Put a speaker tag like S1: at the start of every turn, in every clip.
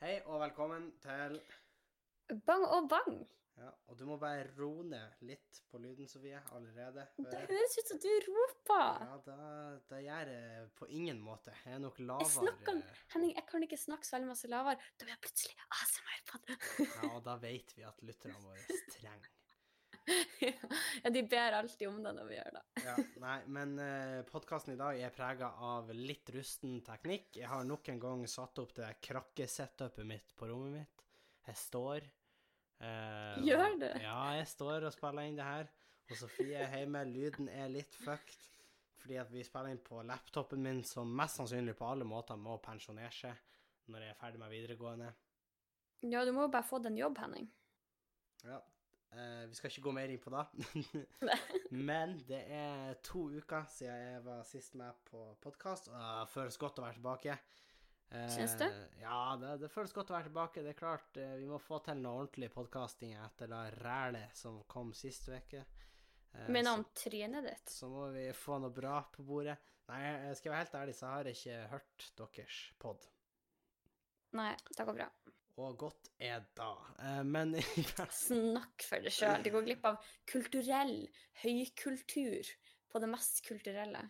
S1: Hei og velkommen til
S2: Bang og bang.
S1: ja, Og du må bare roe ned litt på lyden, Sofie, allerede.
S2: Det høres ut som du roper.
S1: Ja, da, da gjør jeg på ingen måte. Jeg er nok
S2: Jeg snakker,
S1: lavere.
S2: Henning, jeg kan ikke snakke så veldig masse lavere. Da blir jeg plutselig ASMR på det.
S1: Ja, og da vet vi at lytterne våre trenger
S2: ja, de ber alltid om det når vi gjør det.
S1: Ja, nei, men eh, podkasten i dag er prega av litt rusten teknikk. Jeg har nok en gang satt opp det krakkesetupet mitt på rommet mitt. Jeg står. eh,
S2: Gjør du?
S1: Ja, jeg står og spiller inn det her. Og Sofie er hjemme. Lyden er litt fucked. Fordi at vi spiller inn på laptopen min, som mest sannsynlig på alle måter må pensjonere seg når jeg er ferdig med videregående.
S2: Ja, du må jo bare få deg en jobb, Henning.
S1: Ja. eh, vi skal ikke gå mer inn på det. Men det er to uker siden jeg var sist med på podkast, og det føles godt å være tilbake. Eh,
S2: Syns du?
S1: Ja, det, det føles godt å være tilbake. Det er klart, eh, vi må få til noe ordentlig podkasting etter det rælet som kom sist uke. Eh,
S2: Minner om trynet ditt.
S1: så må vi få noe bra på bordet. Nei, jeg skal jeg være helt ærlig, så har jeg ikke hørt deres pod.
S2: Nei, det går bra.
S1: Og godt er da. Eh, Men i hvert
S2: Snakk for deg sjøl. Du går glipp av kulturell høykultur på det mest kulturelle.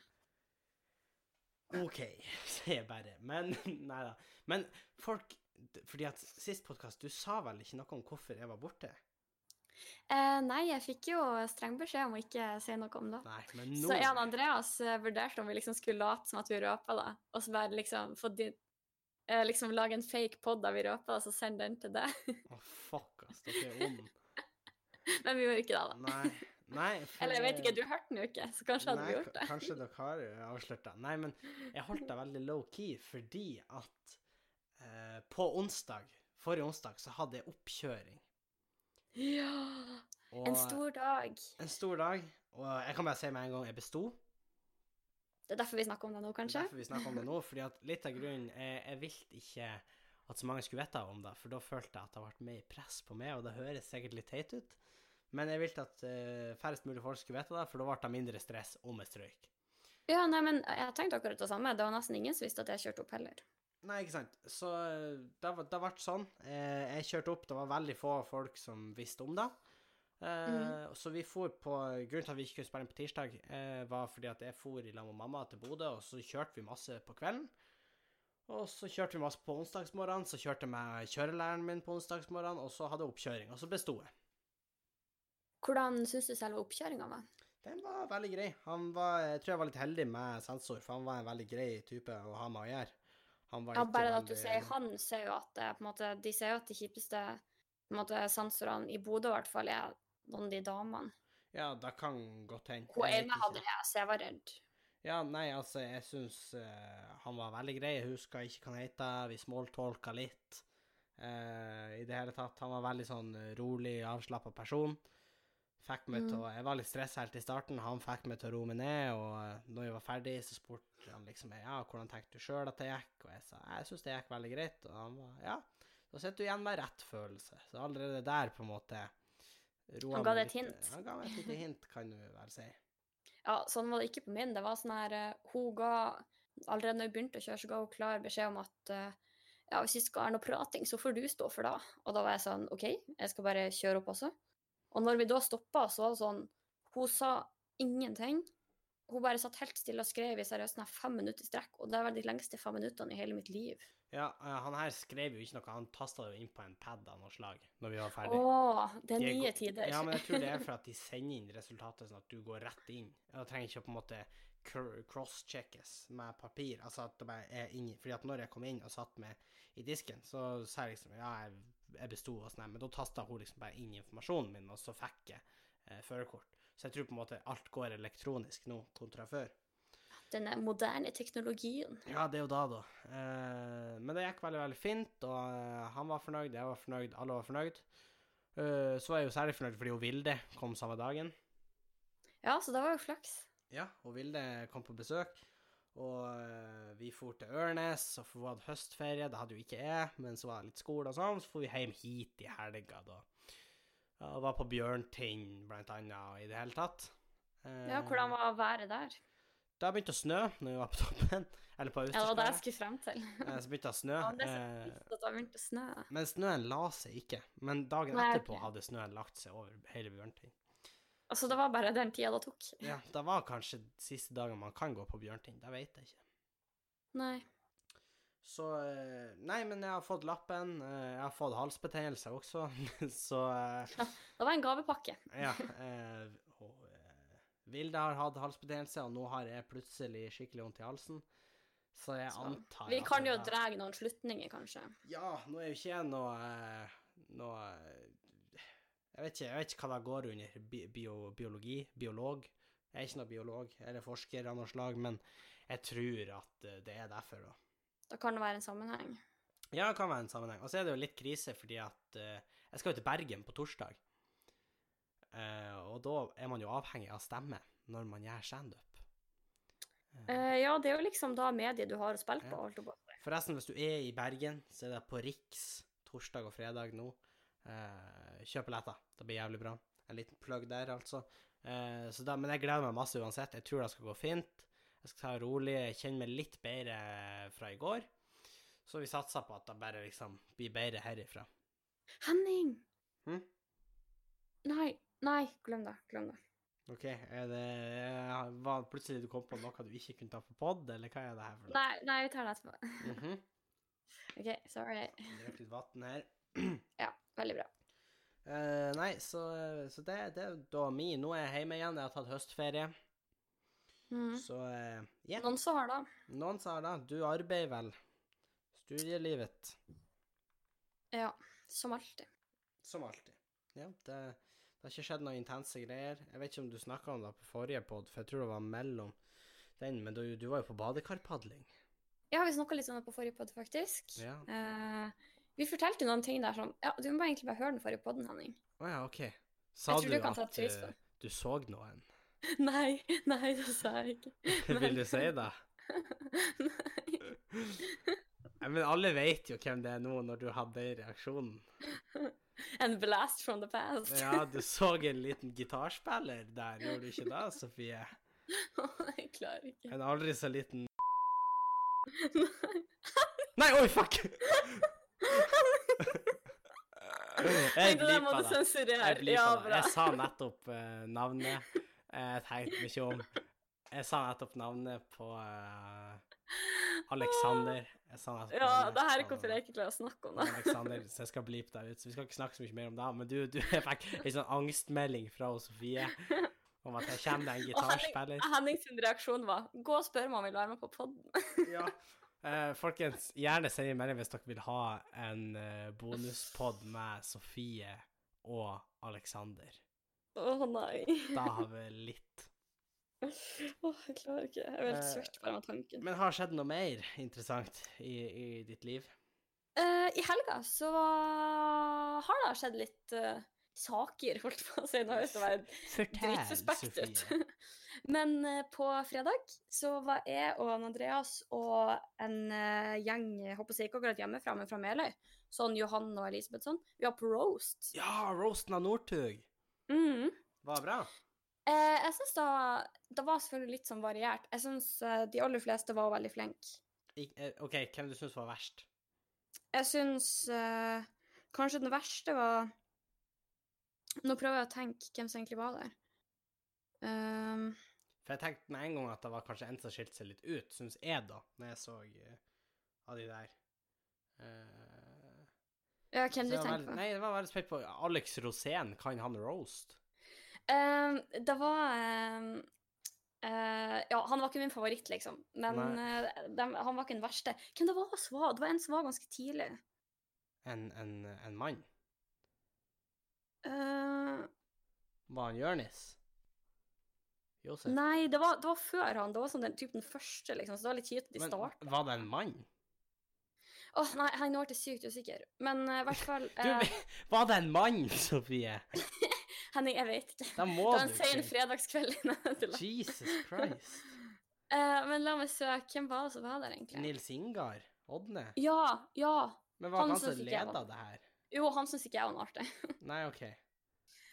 S1: OK, sier jeg bare. Men nei da. Men folk d- Fordi at sist podkast, du sa vel ikke noe om hvorfor jeg var borte?
S2: Eh, nei, jeg fikk jo streng beskjed om å ikke si noe om det.
S1: Nei, men nå
S2: Så jeg og Andreas eh, vurderte om vi liksom skulle late som at vi røpa det, og så bare liksom, få de, eh, liksom lage en fake pod der vi røpa det, så send den til deg.
S1: Å, fuck, ass. Dere er ond.
S2: Men vi gjorde ikke det, da.
S1: Nei. nei for-
S2: Eller jeg vet ikke, du hørte den jo ikke, så kanskje hadde
S1: Nei,
S2: vi gjort
S1: ka-
S2: det.
S1: Kanskje dere har avslørt det. Nei, men jeg holdt det veldig low-key fordi at eh, på onsdag, forrige onsdag, så hadde jeg oppkjøring.
S2: Ja,
S1: Og, eh,
S2: en stor dag.
S1: en stor dag. Og jeg kan bare si med en gang jeg besto.
S2: Det er derfor vi snakker om det nå,
S1: Det
S2: kanskje?
S1: er derfor vi snakker om det nå, fordi at litt av grunnen Jeg, jeg ville ikke at så mange skulle vite om det, for da følte jeg at det ble mer press på meg, og det høres sikkert litt teit ut, men jeg ville at eh, færrest mulig folk skulle vite det, for da ble det mindre stress om jeg strøyk.
S2: Ja, nei, men jeg tenkte akkurat det samme. Det var nesten ingen som visste at jeg kjørte opp heller.
S1: Nei, ikke sant. Så eh, det, var- det ble sånn. Eh, jeg kjørte opp, det var veldig få folk som visste om det. Eh,
S2: Mhm.
S1: Så vi for på Grunnen til at vi ikke kunne spille inn på tirsdag, eh, var fordi at jeg for i lag med mamma til Bodø, og så kjørte vi masse på kvelden. Og så kjørte vi masse på onsdagsmorgenen, så kjørte jeg med kjørelæreren min på onsdagsmorgenen, og så hadde jeg oppkjøring, og så besto jeg.
S2: Hvordan syns du selve oppkjøringa var?
S1: Den var veldig grei. Han var, jeg tror jeg var litt heldig med sensor, for han var en veldig grei type å ha med å gjøre. Han var
S2: Ja,
S1: ikke
S2: bare at du
S1: veldig-
S2: sier han, sier jo at det, på en måte, de sier jo at de kjipeste på en måte, sensorene i Bodø i hvert fall er noen av de damene.
S1: Ja, det kan godt hende.
S2: Hun
S1: Jeg vet
S2: ene
S1: ikke.
S2: hadde jeg, så jeg var redd.
S1: Ja, nei, altså, jeg syns eh, han var veldig grei. Jeg husker ikke hva han heter. Vi smalltalka litt. eh, I det hele tatt. Han var veldig sånn rolig, avslappa person. Fikk meg til å
S2: Mm.
S1: Jeg var litt stressa helt i starten. Han fikk meg til å roe meg ned, og eh, når vi var ferdig, så spurte han liksom Ja, hvordan tenkte du sjøl at det gikk? Og jeg sa jeg syns det gikk veldig greit. Og han var Ja. Da sitter du igjen med rett følelse. Så allerede der, på en måte roa
S2: Han ga
S1: meg
S2: deg et
S1: litt-
S2: hint.
S1: Han ga meg et lite hint, kan du vel si.
S2: Ja, sånn var det ikke på min. Det var sånn her eh, Hun ga Allerede når vi begynte å kjøre, så ga hun klar beskjed om at eh, ja, hvis vi skal ha noe prating, så får du stå for det. Og da var jeg sånn OK, jeg skal bare kjøre opp også. Og når vi da stoppa, så var det sånn Hun sa ingenting. Hun bare satt helt stille og skrev i seriøst sånn her fem minutter i strekk, og det var de lengste fem minuttene i hele mitt liv.
S1: Ja, eh, han her skrev jo ikke noe, han tasta det jo inn på en pad av noe slag når vi var
S2: Å,
S1: ferdig.
S2: det er
S1: Det er
S2: nye
S1: go-
S2: tider.
S1: Ja, men jeg tror det er for at de sender inn resultatet sånn at du går rett inn. Og trenger ikke å på en måte cr- cross-checkes med papir. Altså at det bare er inni. Fordi at når jeg kom inn og satt med i disken, så sa jeg liksom ja, jeg, jeg besto og sånn, her, men da tasta hun liksom bare inn informasjonen min, og så fikk jeg eh, førerkort. Så jeg tror på en måte alt går elektronisk nå, kontra før.
S2: Denne moderne teknologien.
S1: Ja, det er jo da, da. Eh, men det gikk veldig, veldig fint, og eh, han var fornøyd, jeg var fornøyd, alle var fornøyd. Eh, så var jeg jo særlig fornøyd fordi hun Vilde kom samme dagen.
S2: Ja, så det var jo flaks.
S1: Ja, hun Vilde kom på besøk, og eh, vi for til Ørnes, og for hun hadde høstferie, det hadde jo ikke jeg, men så var det litt skole og sånn, så for vi hjem hit i helga, da. Ja, og var på Bjørntind, blant annet, og i det hele tatt. Eh,
S2: Ja, hvordan var været der?
S1: Det har begynt å snø når vi var på toppen. Eller på
S2: Ja, det var det jeg
S1: Austersberget.
S2: skulle frem til.
S1: Eh, Så begynte det å snø.
S2: Ja, men det er så
S1: eh,
S2: trist at det har begynt å snø.
S1: Men snøen la seg ikke. Men dagen
S2: Nei,
S1: etterpå
S2: ok.
S1: hadde snøen lagt seg over hele Bjørnting.
S2: Altså, det var bare den tida det tok.
S1: Ja, det var kanskje siste dagen man kan gå på Bjørnting, det vet jeg ikke.
S2: Nei.
S1: Så eh, Nei, men jeg har fått lappen. eh, Jeg har fått halsbetennelse også, så eh,
S2: Det var en gavepakke.
S1: Ja. eh, Og eh, Vilde har hatt halsbetennelse, og nå har jeg plutselig skikkelig vondt i halsen. Så jeg
S2: Så,
S1: antar
S2: Vi
S1: at
S2: kan
S1: det
S2: jo
S1: der-
S2: dra noen slutninger, kanskje.
S1: Ja, nå er jo ikke jeg noe eh, Noe eh, Jeg vet ikke, jeg vet ikke hva det går under. Bi bio biologi? Biolog? Jeg er ikke noe biolog eller forsker av noe slag, men jeg tror at eh, det er derfor. da.
S2: Da kan det være en sammenheng.
S1: Ja, det kan være en sammenheng. Og så er det jo litt krise, fordi at eh, jeg skal jo til Bergen på torsdag. Eh, og da er man jo avhengig av stemme når man gjør standup. Eh,
S2: Eh, ja, det er jo liksom da mediet du har å spille på.
S1: Ja.
S2: holdt jeg på. å si.
S1: Forresten, hvis du er i Bergen, så er det på Riks torsdag og fredag nå. Eh, kjøp billetter. Det blir jævlig bra. En liten plugg der, altså. Eh, så da, men jeg gleder meg masse uansett. Jeg tror det skal gå fint. Jeg skal ta det rolig. Jeg kjenner meg litt bedre fra i går. Så vi satser på at det bare liksom blir bedre herifra.
S2: Henning!
S1: Hm?
S2: Nei, nei, glem det. Glem det.
S1: OK, er det eh, var Plutselig du kom på noe du ikke kunne ta på pod, eller hva er det her for noe?
S2: Nei, nei, vi tar det etterpå.
S1: Mhm.
S2: OK, sorry.
S1: Drakk litt vann her.
S2: Veldig bra.
S1: Eh, nei, så, så det, det er da mi. Nå er jeg hjemme igjen. Jeg har tatt høstferie.
S2: Mm.
S1: Så eh, ja.
S2: Noen som har da.
S1: Noen sa da Du arbeider vel? Studielivet.
S2: Ja, som alltid.
S1: Som alltid. Ja, det, det har ikke skjedd noen intense greier. Jeg vet ikke om du snakka om det på forrige pod, for jeg tror det var mellom den, men du, du var jo på badekarpadling.
S2: Ja, vi snakka litt om det på forrige podd, faktisk.
S1: Ja.
S2: Eh, vi fortalte noen ting der som Ja, du må egentlig bare høre den forrige podden, Henning.
S1: Å ja, OK. Sa
S2: tror
S1: du,
S2: du kan ta
S1: at
S2: pris
S1: eh,
S2: på det.
S1: du så noen?
S2: nei, nei, det sa jeg ikke. Men-
S1: Vil du si det? Nei, Men alle vet jo hvem det er nå, når du hadde den reaksjonen.
S2: And blast from the past.
S1: Ja, du så en liten gitarspiller der, gjorde du ikke det, Sofie?
S2: jeg klarer ikke.
S1: En aldri så liten Nei, oi, fuck! Jeg
S2: Tenkte det må
S1: bleepa
S2: du
S1: det. Jeg,
S2: sensurere.
S1: bleepa
S2: Ja,
S1: det.
S2: bra.
S1: jeg sa nettopp eh, navnet. Jeg tenkte mye om. Jeg sa nettopp navnet på eh, Alexander. Jeg sa nettopp
S2: Ja,
S1: navnet
S2: det her er
S1: på-
S2: hvorfor jeg ikke klarer å snakke om det.
S1: Alexander, så jeg skal bleepe deg ut. Så vi skal ikke snakke så mye mer om det. Men du, du jeg fikk en sånn angstmelding fra Sofie om at jeg kommer deg en
S2: Og Henning-
S1: gitarspiller.
S2: Henning sin reaksjon var 'gå og spør om han vil være med på podden'.
S1: Ja. Eh, folkens, gjerne send en melding hvis dere vil ha en eh, bonuspod med Sofie og Alexander.
S2: Å nei.
S1: Da har vi litt.
S2: Åh, jeg klarer ikke. Jeg blir helt
S1: Eh,
S2: svett bare med tanken.
S1: Men har skjedd noe mer interessant i, i ditt liv?
S2: Eh, I helga så har det skjedd litt eh, saker, holdt på å si. Nå høres det bare dritsuspekt ut. Men eh, på fredag så var jeg og han Andreas og en eh, gjeng, jeg håper jeg ikke akkurat hjemmefra, men fra Meløy, sånn Johan og Elisabeth sånn, vi var på roast.
S1: Ja, roasten av Northug
S2: Mhm.
S1: Mm. var bra.
S2: Eh, jeg syns da Det var selvfølgelig litt sånn variert. Jeg syns eh, de aller fleste var veldig flinke.
S1: Ik eh, OK, hvem du syns var verst?
S2: Jeg syns eh, kanskje den verste var Nå prøver jeg å tenke hvem som egentlig var der. Ehm,
S1: For jeg tenkte med en gang at det var kanskje en som skilte seg litt ut, syns jeg, da, når jeg så eh, av de der. Eh,
S2: ja,
S1: så
S2: hvem du
S1: jeg var
S2: tenker
S1: veldig-
S2: på?
S1: Nei, det var veldig spent på Alex Rosén, kan han roast?
S2: Ehm, det var ehm, eh, Ja, han var ikke min favoritt, liksom. Men eh, dem- han var ikke den verste. Hvem det var som var? Det var en som var ganske tidlig.
S1: En, en, en mann?
S2: Eh,
S1: Var han Jonis? Josef?
S2: nei, det var, det var før han. Det var sånn den, typ den første, liksom. Så det var litt kjipt at de
S1: Men
S2: starta.
S1: var det en mann?
S2: Åh, nei, jeg nå ble jeg sykt usikker. Men eh, i hvert fall
S1: Du,
S2: eh,
S1: var det en mann, Sofie?
S2: Henning, jeg vet ikke.
S1: Da må
S2: Det var
S1: du
S2: en sen
S1: kunne.
S2: fredagskveld. inne til det.
S1: Jesus Christ.
S2: Eh, men la meg søke. Hvem var det som var der, egentlig?
S1: Nils Ingar? Odne?
S2: Ja, ja.
S1: Men var
S2: Han
S1: det han
S2: synes
S1: som
S2: ikke jeg
S1: leda
S2: var-
S1: det her?
S2: Jo, han syns ikke jeg var noe artig.
S1: Nei, OK.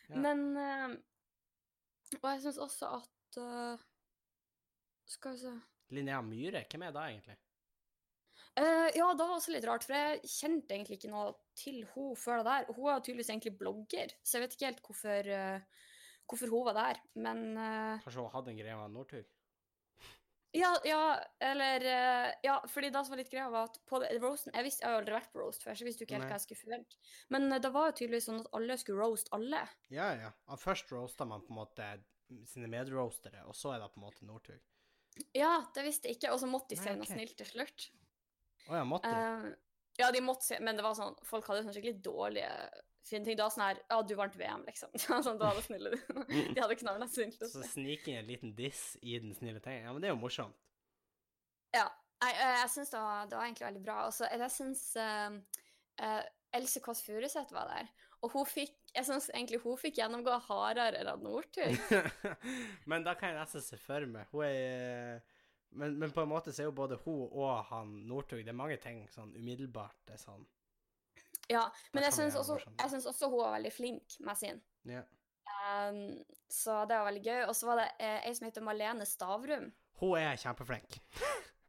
S1: Ja.
S2: Men eh, Og jeg syns også at eh, Skal vi se
S1: Linnea Myhre, hvem er det egentlig?
S2: Eh, Ja, det var også litt rart, for jeg kjente egentlig ikke noe til hun før det der. Hun er tydeligvis egentlig blogger, så jeg vet ikke helt hvorfor, eh, hvorfor hun var der. Men eh,
S1: Kanskje hun hadde en greie med Northug?
S2: Ja, ja, eller eh, Ja, fordi det som var litt greia, var at på det- roasten Jeg, visste, jeg har jo aldri vært på roast før, så jeg visste jo ikke helt
S1: Nei.
S2: hva jeg skulle forvente. Men eh, det var jo tydeligvis sånn at alle skulle roast alle.
S1: Ja, ja. ja. Først roaster man på en måte sine medroastere, og så er det på en måte Northug.
S2: Ja, det visste jeg ikke, og så måtte de
S1: Nei,
S2: si noe
S1: ok.
S2: snilt til slutt.
S1: Å ja, måtte du?
S2: Eh, ja, de måtte se, men det var sånn, folk hadde sånn skikkelig dårlige fine ting. Det var sånn her, ja, du vant VM, liksom. sånn, da var det snille du. De hadde knallende snilt.
S1: Mm. Så sniker jeg en liten diss i den snille tingen. Ja, men det er jo morsomt.
S2: Nei, eh, jeg synes det var, det var egentlig veldig bra. Og så jeg synes eh, eh, Else Kåss Furuseth var der, og hun fikk, jeg synes egentlig hun fikk gjennomgå hardere enn Nordtug.
S1: men da kan jeg nesten se for meg. Hun er eh, men, men på en måte så er jo både hun og han Northug Det er mange ting sånn umiddelbart det er sånn
S2: Ja,
S1: Da
S2: men jeg
S1: kan vi
S2: synes,
S1: gjøre
S2: også,
S1: morsomt.
S2: jeg synes også hun var veldig flink med sin.
S1: Ja.
S2: Eh, så det var veldig gøy. Og så var det uh, en som heter Malene Stavrum.
S1: Hun er kjempeflink.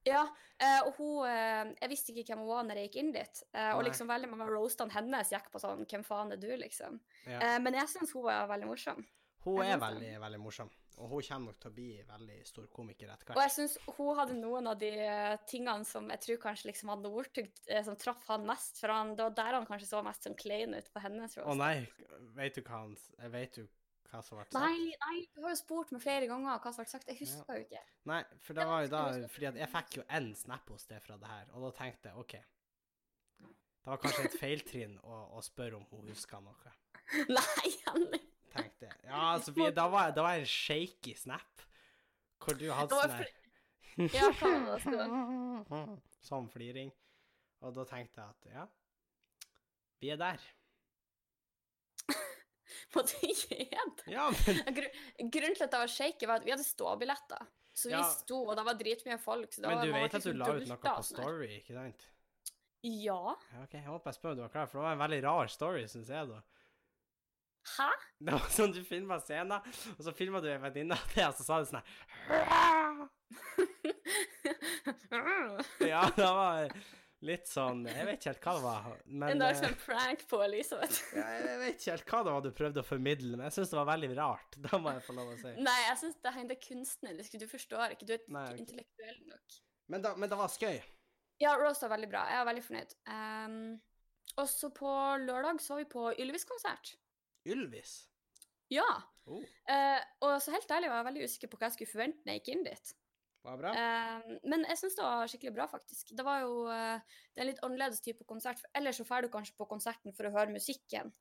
S2: Ja, eh, og hun eh, Jeg visste ikke hvem hun var når jeg gikk inn dit. eh, og
S1: Nei.
S2: liksom veldig mange av roastene hennes gikk på sånn Hvem faen er du, liksom?
S1: Ja.
S2: Eh, men jeg syns hun var veldig morsom.
S1: Hun er
S2: Jeg synes det.
S1: veldig, veldig morsom. Og hun kommer nok til å bli veldig stor komiker etter
S2: Og
S1: hvert.
S2: jeg syns hun hadde noen av de eh, tingene som jeg tror kanskje liksom hadde Northug eh, som traff han mest, for han, det var der han kanskje så mest sånn klein ut på hennes roast.
S1: Å nei, vet du hva han Jeg vet jo hva som ble sagt.
S2: Nei, nei, du har jo spurt meg flere ganger hva som ble sagt. Jeg
S1: Ja.
S2: husker jo ikke.
S1: Nei, for det
S2: Jeg
S1: var jo
S2: vet
S1: da
S2: ikke hva som-
S1: Fordi at jeg fikk jo én snap hos deg fra det her, og da tenkte jeg OK. Det var kanskje et feiltrinn å, å spørre om hun huska noe,
S2: Nei, Henning.
S1: tenkte jeg. Ja, altså, vi, da, var, da var jeg en shaky snap, hvor du hadde
S2: Det
S1: sånn
S2: var
S1: her
S2: Ja, faen, det skal
S1: Sånn fliring. Og da tenkte jeg at ja, vi er der.
S2: på tiden.
S1: Ja, men
S2: Grunnen til at det var shaky, var at vi hadde ståbilletter. Så vi
S1: Ja.
S2: sto, og det var dritmye folk. Så det
S1: Men
S2: var,
S1: du
S2: man ble
S1: vet at du
S2: liksom
S1: la ut noe
S2: dulta
S1: på
S2: og sånn her.
S1: Story, ikke sant?
S2: Ja.
S1: Ja, ok, Jeg håper jeg spør om du var klar, for det var en veldig rar story, syns jeg, da.
S2: Hæ?
S1: Det var sånn du filma scenen, og så filma du en venninne av det, og så sa du sånn her Ja, det var litt sånn Jeg vet ikke helt hva det var,
S2: en
S1: men
S2: dag
S1: eh,
S2: som en prank på Elisabeth.
S1: ja, Jeg vet ikke helt hva det var du prøvde å formidle, men jeg syns det var veldig rart. Det må jeg få lov å si.
S2: Nei, jeg syns det er kunstnerisk. Du forstår ikke. Du er
S1: Nei, ok.
S2: ikke intellektuell nok.
S1: Men, da, men det var skøy.
S2: Ja, Rose var veldig bra. Jeg er veldig fornøyd. Ehm, også på lørdag så var vi på Ylvis-konsert.
S1: Ylvis.
S2: Ja.
S1: Oh,
S2: eh, og så helt ærlig var jeg veldig usikker på hva jeg skulle forvente når jeg gikk inn dit.
S1: var bra.
S2: Eh, men jeg syns det var skikkelig bra, faktisk. Det var jo eh, det er en litt annerledes type konsert. for Ellers så drar du kanskje på konserten for å høre musikken.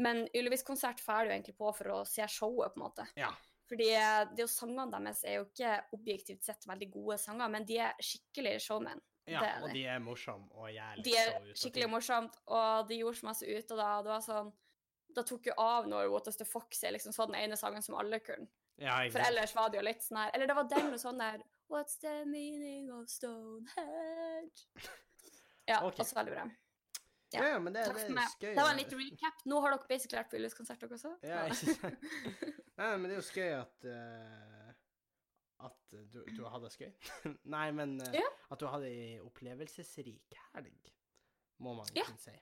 S2: Men Ylvis-konsert drar du egentlig på for å se showet, på en måte.
S1: Ja.
S2: Fordi eh, det er jo sangene deres er jo ikke objektivt sett veldig gode sanger, men de er skikkelig showmen.
S1: Ja,
S2: det er
S1: og
S2: det.
S1: de er morsomme og jævlig
S2: De er
S1: så ut og
S2: skikkelig
S1: fint.
S2: morsomt, og de gjorde så masse ut av det. og Det var sånn Da tok jo av når What Does The Fox er liksom sånn den ene sangen som alle kunne.
S1: Ja, ikke
S2: For
S1: sant?
S2: ellers var det jo litt sånn her Eller det var den og sånn der What's the meaning of Stonehenge? Ja,
S1: Ok.
S2: også veldig bra. ja.
S1: Ja, ja, men det,
S2: Takk
S1: det
S2: for
S1: er
S2: meg.
S1: skøy.
S2: Det
S1: å-
S2: var en liten recap. Nå har dere basically vært på Ylvis-konsert, dere også.
S1: Ja, ikke sant. Nei, men det er jo skøy at eh, At du, du hadde det skøy. Nei, men eh,
S2: Ja.
S1: at du hadde ei opplevelsesrik helg, må man
S2: Ja.
S1: kunne si.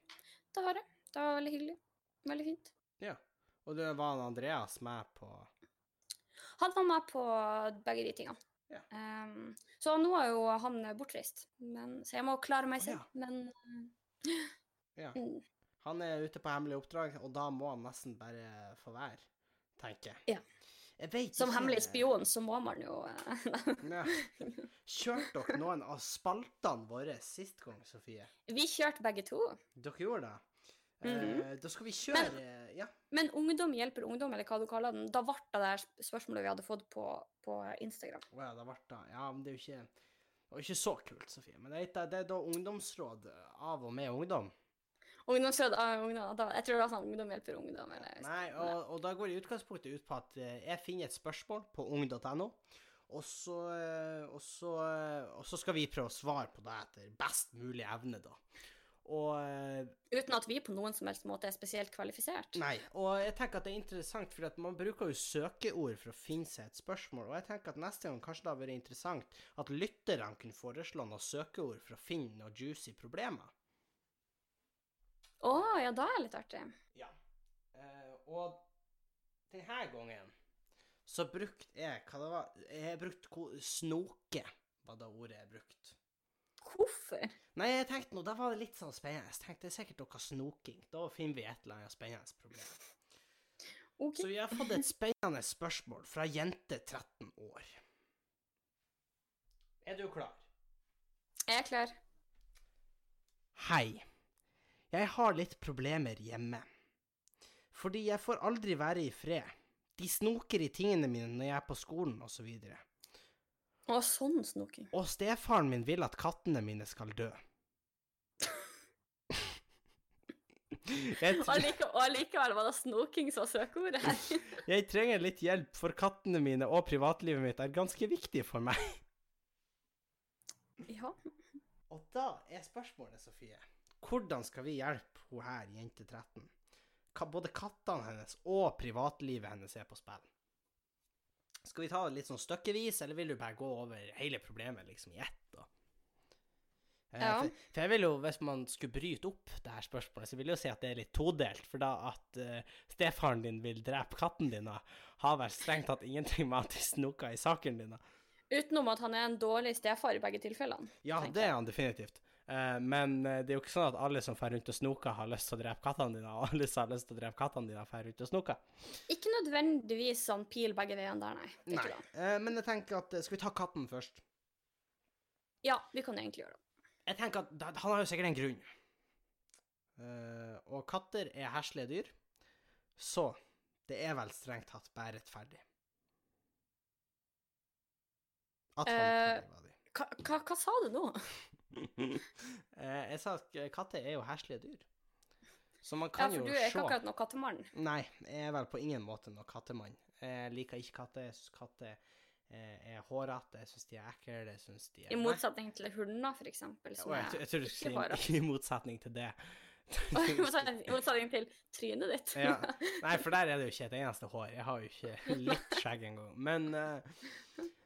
S2: Det har jeg. Det var veldig hyggelig. Veldig fint.
S1: Og det var en Andreas med på
S2: Han var med på begge de tingene.
S1: Ja.
S2: Ehm, så nå er jo han bortreist, men, så jeg må klare meg
S1: Å,
S2: selv. Men
S1: Ja.
S2: mm,
S1: Han er ute på hemmelig oppdrag, og da må han nesten bare få være, tenker jeg.
S2: Ja.
S1: Jeg vet
S2: som
S1: ikke-
S2: hemmelig spion så må man jo eh,
S1: Ja. Kjørte dere noen av spaltene våre sist gang, Sofie?
S2: Vi kjørte begge to.
S1: Dere gjorde det? Eh,
S2: Mhm.
S1: Da skal vi kjøre Ja.
S2: Men ungdom hjelper ungdom, eller hva du kaller den. Da ble det det her sp- spørsmålet vi hadde fått på, på Instagram.
S1: Å ja, det ble det. Ja, men det er jo ikke det var ikke så kult, Sofie. Men det er, det er da ungdomsråd av og med ungdom.
S2: Ungdomsråd av ungdom. Da, jeg tror det var sånn ungdom hjelper ungdom. Eller,
S1: Nei, og, og da går det i utgangspunktet ut på at eh, jeg finner et spørsmål på ung.no, og så, eh, og, så, eh, og så skal vi prøve å svare på det etter best mulig evne, da. Og eh,
S2: Uten at vi på noen som helst måte er spesielt kvalifisert.
S1: Nei, og jeg tenker at det er interessant, for at man bruker jo søkeord for å finne seg et spørsmål, og jeg tenker at neste gang kanskje det hadde vært interessant at lytterne kunne foreslå noen søkeord for å finne noen juicy problemer.
S2: Å, ja, da er det litt artig.
S1: Ja. Eh, og denne gangen så brukte jeg Hva det var Jeg brukte ko- snoke, var det ordet jeg brukte.
S2: Hvorfor?
S1: Nei, jeg tenkte nå, da var det litt sånn spennende. Jeg tenkte det er sikkert noe snoking. Da finner vi et eller annet spennende problem.
S2: OK.
S1: Så vi har fått et spennende spørsmål fra jente 13 år. Er du klar?
S2: Jeg er klar.
S1: Hei. Jeg har litt problemer hjemme. Fordi jeg får aldri være i fred. De snoker i tingene mine når jeg er på skolen osv. Og, så
S2: Å, sånn snoking.
S1: og stefaren min vil at kattene mine skal dø. Jeg,
S2: Og
S1: tre
S2: allike- og allikevel var det snoking som var søkeordet her.
S1: jeg trenger litt hjelp, for kattene mine og privatlivet mitt er ganske viktig for meg.
S2: Ja.
S1: Og da er spørsmålet, Sofie, hvordan skal vi hjelpe hun her, jente 13? Ka både kattene hennes og privatlivet hennes er på spill. Skal vi ta det litt sånn stykkevis, eller vil du bare gå over hele problemet liksom i ett? da? Eh,
S2: Ja.
S1: For, for jeg vil jo, hvis man skulle bryte opp det her spørsmålet, så vil jeg jo si at det er litt todelt, for da at eh, stefaren din vil drepe katten din, da, har vel strengt tatt ingenting med at de snoker i saken din. da.
S2: Utenom at han er en dårlig stefar i begge tilfellene.
S1: Ja,
S2: tenker
S1: det
S2: jeg.
S1: er han definitivt. Eh, men eh, det er jo ikke sånn at alle som drar rundt og snoker, har lyst til å drepe kattene dine, og alle som har lyst til å drepe kattene dine, drar rundt og snoker.
S2: Ikke nødvendigvis sånn pil begge veiene der, nei. Det er ikke det.
S1: Eh, men jeg tenker at eh, Skal vi ta katten først?
S2: Ja, vi kan egentlig gjøre det.
S1: Jeg tenker at da- Han har jo sikkert en grunn. Eh, og katter er heslige dyr, så det er vel strengt tatt bare rettferdig. At han
S2: Eh,
S1: tar livet av dem.
S2: Hva, hva, hva sa du nå?
S1: Eh, jeg sa at katter er jo heslige dyr. Så man
S2: Ja,
S1: kan
S2: for
S1: jo
S2: du
S1: se
S2: er ikke akkurat noen kattemann.
S1: Nei, jeg er vel på ingen måte noen kattemann. Jeg liker ikke katter. Jeg syns katter eh, er hårete, jeg syns de er ekle, jeg syns de er
S2: I motsetning til hunder, for eksempel.
S1: Nei,
S2: Som
S1: å,
S2: er
S1: jeg, jeg tror du
S2: ikke
S1: skulle
S2: hårete.
S1: si i motsetning til det.
S2: I motsetning- I motsetning til trynet ditt.
S1: Ja. Nei, for der er det jo ikke et eneste hår. Jeg har jo ikke litt skjegg engang. Men eh,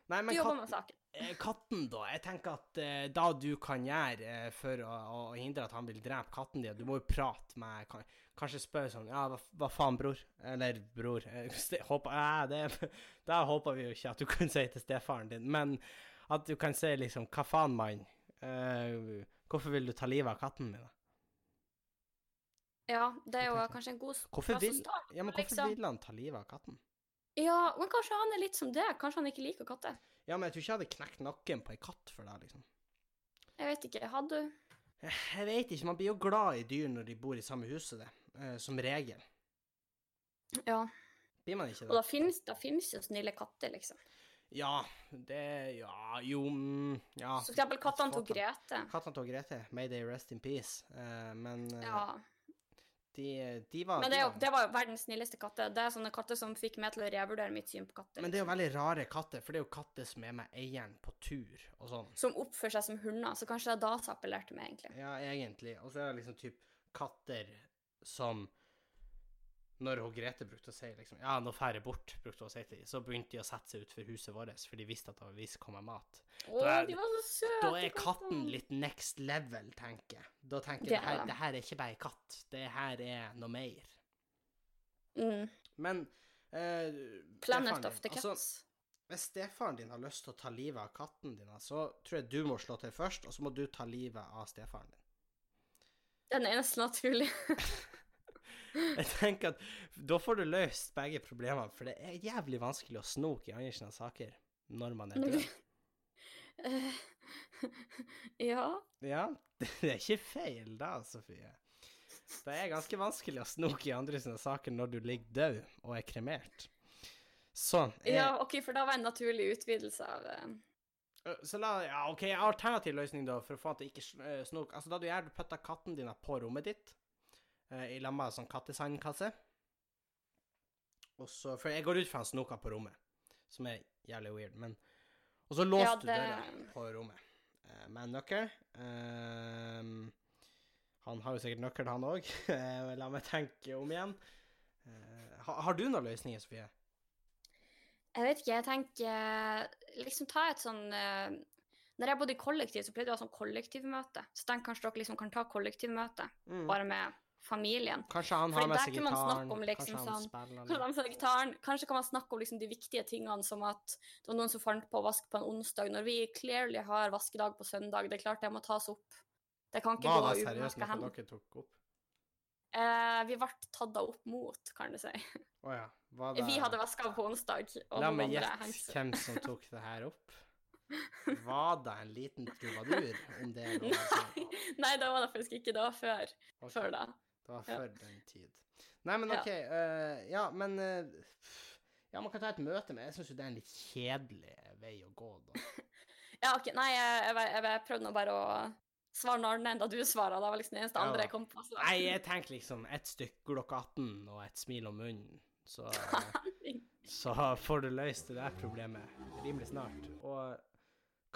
S1: Nei,
S2: Du
S1: men
S2: jobber
S1: katten,
S2: med saken.
S1: eh, katten, da. Jeg tenker at eh, da du kan gjøre eh, for å, å hindre at han vil drepe katten din, du må jo prate med kan, Kanskje spørre sånn Ja, hva, hva faen, bror? Eller bror eh, ste- håper, eh, det, Da håper vi jo ikke at du kan si til stefaren din, men at du kan si liksom Hva faen, mann? Eh, hvorfor vil du ta livet av katten min? da?
S2: Ja, det er jo
S1: Tenker jeg.
S2: kanskje en god s-
S1: Hvorfor
S2: plass å
S1: vil,
S2: starte.
S1: ja, men hvorfor
S2: liksom.
S1: vil han ta livet av katten?
S2: Ja, men kanskje han er litt som det. Kanskje han ikke liker katter.
S1: Ja, men jeg tror ikke jeg hadde knekt nakken på ei katt for det, liksom.
S2: Jeg vet ikke. Hadde du
S1: Jeg vet ikke, man blir jo glad i dyr når de bor i samme huset, det. eh, som regel.
S2: Ja.
S1: Blir man ikke
S2: Og da
S1: det?
S2: finnes, da finnes jo snille katter, liksom.
S1: Ja, det Ja, jo mm, Ja.
S2: For eksempel kattene til Grete.
S1: Kattene til Grete. May they rest in peace. Eh, men eh,
S2: Ja.
S1: de, de var
S2: Men det, er jo,
S1: de var-
S2: det var jo verdens snilleste katter. Det er sånne katter som fikk meg til å revurdere mitt syn på katter.
S1: Men det er jo veldig rare katter, for det er jo katter som er med eieren på tur og sånn.
S2: Som oppfører seg som hunder. Så kanskje det er da som appellerte meg, egentlig.
S1: Ja, egentlig. Og så er det liksom typ katter som Når hun Grete brukte å si liksom Ja, nå drar jeg bort, brukte hun å si til dem. Så begynte de å sette seg utfor huset vårt, for de visste at det visst kom mat.
S2: Å,
S1: Da er-
S2: de var så søte!
S1: Da er katten
S2: kattene.
S1: litt next level, tenker jeg. Da tenker
S2: Det
S1: jeg det
S2: er
S1: her,
S2: det.
S1: det her er ikke bare katt, det her er noe mer.
S2: Mm.
S1: Men eh, stefaren
S2: Planet
S1: din,
S2: of the Cats.
S1: altså, hvis stefaren din har lyst til å ta livet av katten din, så tror jeg du må slå til først, og så må du ta livet av stefaren din.
S2: Den er nesten naturlig.
S1: Jeg tenker at da får du løst begge problemene, for det er jævlig vanskelig å snoke i andre sine saker når man er
S2: Når
S1: død.
S2: Eh, ja.
S1: Ja, det er ikke feil da, Sofie. Det er ganske vanskelig å snoke i andre sine saker når du ligger død og er kremert. Så, eh, jeg,
S2: ja, OK, for da var en naturlig utvidelse av eh,
S1: øh, så la, ja, ok, alternativ løsning da, for å få han til ikke sn- øh, snoke. Altså, da du gjør, du putter katten din på rommet ditt, eh, i lamma sånn kattesandkasse. Og så, for jeg går ut fra han snoker på rommet, som er jævlig weird, men... Og så låste du
S2: det-
S1: døra på rommet eh, med en nøkkel. Ehm, Han har jo sikkert nøkkelen, han òg. La meg tenke om igjen. Eh, ha- Har du noen løsninger, Sofie?
S2: Jeg vet ikke, jeg tenker liksom ta et sånn eh, Når jeg bodde i kollektiv, så pleide vi å ha sånn kollektivmøte. Så tenk kanskje dere liksom kan ta kollektivmøte
S1: Mm.
S2: bare med familien.
S1: Kanskje han
S2: Fordi
S1: har med
S2: der
S1: seg
S2: kunne man snakke
S1: gitaren,
S2: om liksom
S1: kanskje han
S2: sånn-
S1: spiller
S2: Kanskje
S1: litt.
S2: de som har gitaren, kanskje kan man snakke om liksom de viktige tingene, som at det var noen som fant på å vaske på en onsdag, når vi clearly har vaskedag på søndag. Det er klart det må tas opp. Det kan ikke
S1: Var det
S2: gå
S1: seriøst
S2: umerka
S1: noe
S2: hen.
S1: dere tok opp?
S2: Eh, vi ble tatt da opp mot, kan du si.
S1: Å ja. Var det
S2: Vi hadde vaska på onsdag, og
S1: La
S2: noen
S1: meg
S2: andre
S1: gjette
S2: hengte
S1: hvem som tok det her opp. Var det en liten trubadur, om det er lov å si?
S2: Nei, det var det faktisk ikke. Det var før,
S1: Ok,
S2: før da.
S1: Det var
S2: ja.
S1: før den tid. Nei, men
S2: Ja.
S1: OK. eh, ja, men eh, Ja, man kan ta et møte, men jeg syns jo det er en litt kjedelig vei å gå, da.
S2: Ja, ok, nei, jeg, jeg, jeg, jeg prøvde nå bare å svare noe annet enn da du svarer. Det var liksom det eneste
S1: Ja da.
S2: andre jeg kom på. så-
S1: Nei, jeg tenker liksom et stykk glokk 18 og et smil om munnen, så Så får du løst det der problemet rimelig snart. Og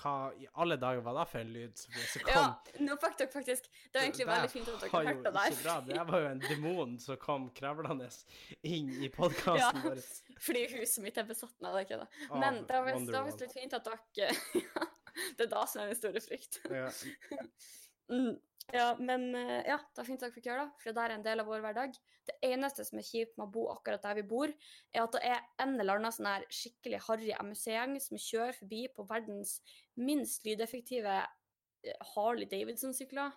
S1: hva i alle dager var det for en lyd som som kom?
S2: Ja, nå fikk dere faktisk Det var egentlig
S1: Det der
S2: veldig fint at
S1: var
S2: dere
S1: jo
S2: hørte
S1: ikke bra. Det
S2: det der.
S1: her var jo en demon som kom kravlende inn i podkasten
S2: Ja.
S1: vår.
S2: Fordi huset mitt er besatt av det, ikke det?
S1: av
S2: Men det var visst- det var
S1: Wonderwall.
S2: visst litt fint at dere Ja, det er da som er min store frykt.
S1: Ja.
S2: Mm. Ja, men eh, ja, det er fint dere fikk gjøre det, for det er en del av vår hverdag. Det eneste som er kjipt med å bo akkurat der vi bor, er at det er en eller annen sånn her skikkelig harry MC-gjeng som kjører forbi på verdens minst lydeffektive eh, Harley Davidson-sykler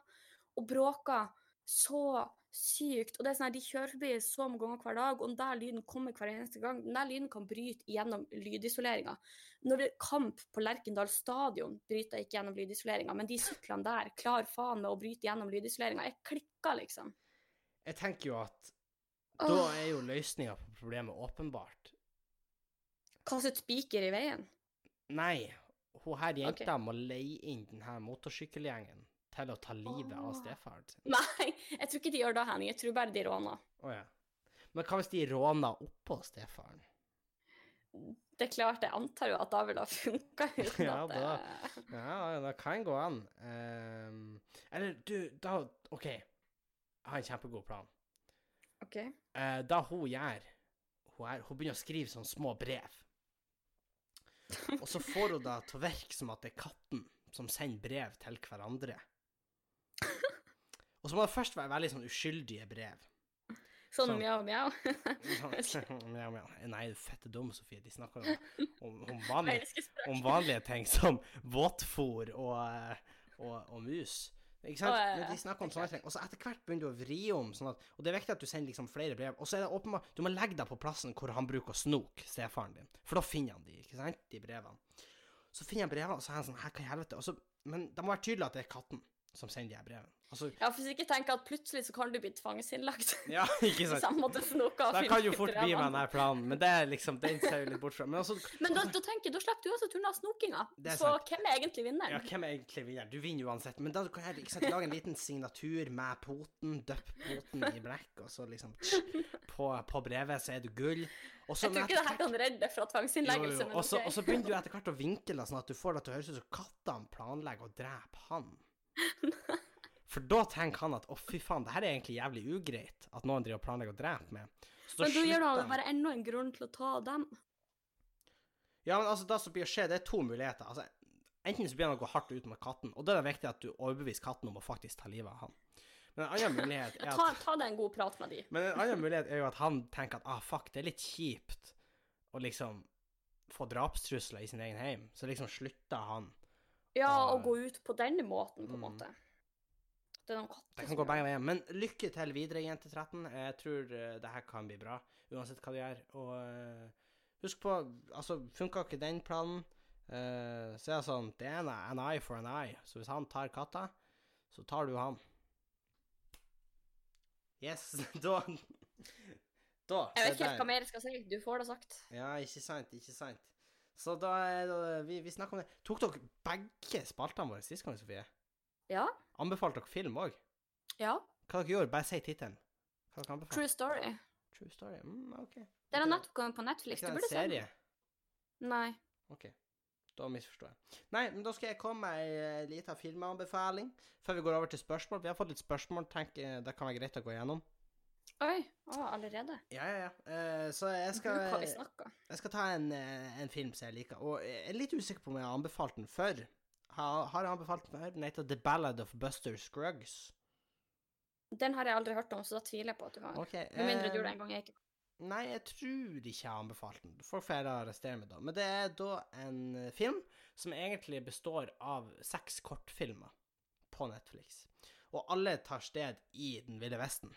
S2: og bråker så sykt. Og det er sånn her, de kjører forbi så mange ganger hver dag, og den der lyden kommer hver eneste gang. Den der lyden kan bryte gjennom lydisoleringa. Når det er kamp på Lerkendal stadion, bryter jeg ikke gjennom lydisoleringa, men de syklene der klarer faen meg å bryte gjennom lydisoleringa. Jeg klikker, liksom.
S1: Jeg tenker jo at da
S2: Åh,
S1: er jo løsninga på problemet åpenbart.
S2: kastet spiker i veien.
S1: Nei, hun her jenta
S2: Ok.
S1: må leie inn den her motorsykkelgjengen til å ta livet av
S2: Åh.
S1: stefaren sin.
S2: Nei, jeg tror ikke de gjør det, Henning. Jeg tror bare de råner.
S1: Å ja. Men hva hvis de råner oppå stefaren?
S2: Det er klart, jeg antar jo at da ville det funka uten
S1: Ja,
S2: at
S1: da.
S2: det
S1: Ja, det kan gå an. Ehm, eller du, da OK. Jeg har en kjempegod plan.
S2: OK.
S1: Eh, da hun gjør hun, er, hun begynner å skrive sånne små brev. Og så får hun det til å virke som at det er katten som sender brev til hverandre. Og så må det først være veldig sånn uskyldige brev.
S2: Sånn
S1: Sånn.
S2: mjau, mjau.
S1: Sånn, mjau, mjau. Nei, du fette dum, Sofie. De snakker jo om, om,
S2: Jeg
S1: vanlige,
S2: elsker spøk.
S1: om vanlige ting som våtfôr og, eh, og, og mus. Ikke sant?
S2: Å, ja, ja,
S1: Men
S2: ja.
S1: de snakker om
S2: Det er
S1: sånne ting. Og så etter hvert begynner du å vri om. Sånn at, og det er viktig at du sender liksom flere brev. Og så er det åpenbart Du må legge deg på plassen hvor han bruker å snoke stefaren din. For da finner han de, ikke sant? De brevene. Så finner han brevene, og så er han sånn Her, hva i helvete? Og så, men det må være tydelig at det er katten som sender de her brevene. Altså,
S2: Ja, for ikke tenk at plutselig så kan du bli tvangsinnlagt.
S1: ja, ikke
S2: På
S1: sant?
S2: samme måte som noe av
S1: Det kan jo
S2: filmkulturen.
S1: fort bli med denne planen, men det er liksom, den ser jo litt bort fra. Men altså,
S2: Men da, da tenker jeg, da slipper du også turen av snokinga.
S1: Det er
S2: Så
S1: sant.
S2: hvem er egentlig vinneren?
S1: Ja, hvem er egentlig vinner? Du vinner uansett, men da kan jeg ikke sant, lage en liten signatur med poten, døpp poten i blekk, og så liksom tsk, på, på brevet så er du gull. Og så
S2: Jeg tror ikke det her kan redde deg
S1: Sånn,
S2: fra
S1: Jo,
S2: tvangsinnleggelse,
S1: jo,
S2: men
S1: Og så
S2: ok.
S1: og så begynner du etter hvert å vinkle det, sånn at du får det til å høres ut som kattene planlegger å drepe han. For da tenker han at å, fy faen, det her er egentlig jævlig ugreit at noen driver og planlegger å drepe meg. Så
S2: Men da gjør
S1: slutter
S2: det
S1: han-
S2: bare enda en grunn til å ta dem.
S1: Ja, men altså, det som blir å skje, det er to muligheter. Altså, enten så blir han å gå hardt ut mot katten, og da er det viktig at du overbeviser katten om å faktisk ta livet av han. Men en annen mulighet er
S2: Ta,
S1: at,
S2: ta deg en god prat med de.
S1: men en annen mulighet er jo at han tenker at ah, fuck, det er litt kjipt å liksom få drapstrusler i sin egen heim, så liksom slutter han.
S2: Ja,
S1: Ah.
S2: og gå ut på den måten, på en
S1: Mm.
S2: måte. Det er noen katter
S1: Det kan
S2: som
S1: gå
S2: gjør
S1: begge veier. Men lykke til videre, jente 13. Jeg tror eh, det her kan bli bra, uansett hva du gjør. Og eh, husk på, altså, funka ikke den planen, eh, så er det sånn Det er en an eye for an eye. Så hvis han tar katta, så tar du han. Yes, da Da.
S2: Jeg
S1: se
S2: vet ikke helt
S1: der.
S2: hva mer jeg skal si. Du får det sagt.
S1: Ja, ikke sant, ikke sant. Så da er det Vi, vi snakker om det. Tok dere begge spaltene våre sist gang, Sofie?
S2: Ja.
S1: Anbefalte dere film òg?
S2: Ja.
S1: Hva dere gjorde? Bare si tittelen. Hva dere anbefaler?
S2: True story.
S1: True Story. Mm, OK.
S2: Den har
S1: Ikke-
S2: nettopp kommet på Netflix.
S1: ikke
S2: Du
S1: det
S2: burde
S1: en
S2: se den.
S1: serie?
S2: Nei.
S1: OK. Da misforstår jeg. Nei, men da skal jeg komme med ei eh, lita filmanbefaling før vi går over til spørsmål. Vi har fått litt spørsmål, tenker jeg det kan være greit å gå gjennom.
S2: Oi, å, allerede?
S1: Ja, ja, ja. Eh, så jeg
S2: Skal... Hva
S1: skal,
S2: vi snakka?
S1: jeg skal ta en, eh, en film som jeg liker, og jeg er litt usikker på om jeg har anbefalt den før. Har, har jeg anbefalt den før? Den heter The Ballad of Buster Scruggs.
S2: Den har jeg aldri hørt om, så da tviler jeg på at du har.
S1: Ok.
S2: Med mindre du
S1: eh,
S2: gjorde det en gang jeg ikke
S1: Nei, jeg tror ikke jeg har anbefalt den. Folk får heller arrestere meg da. Men det er da en eh, film som egentlig består av seks kortfilmer på Netflix. Og alle tar sted i Den ville vesten.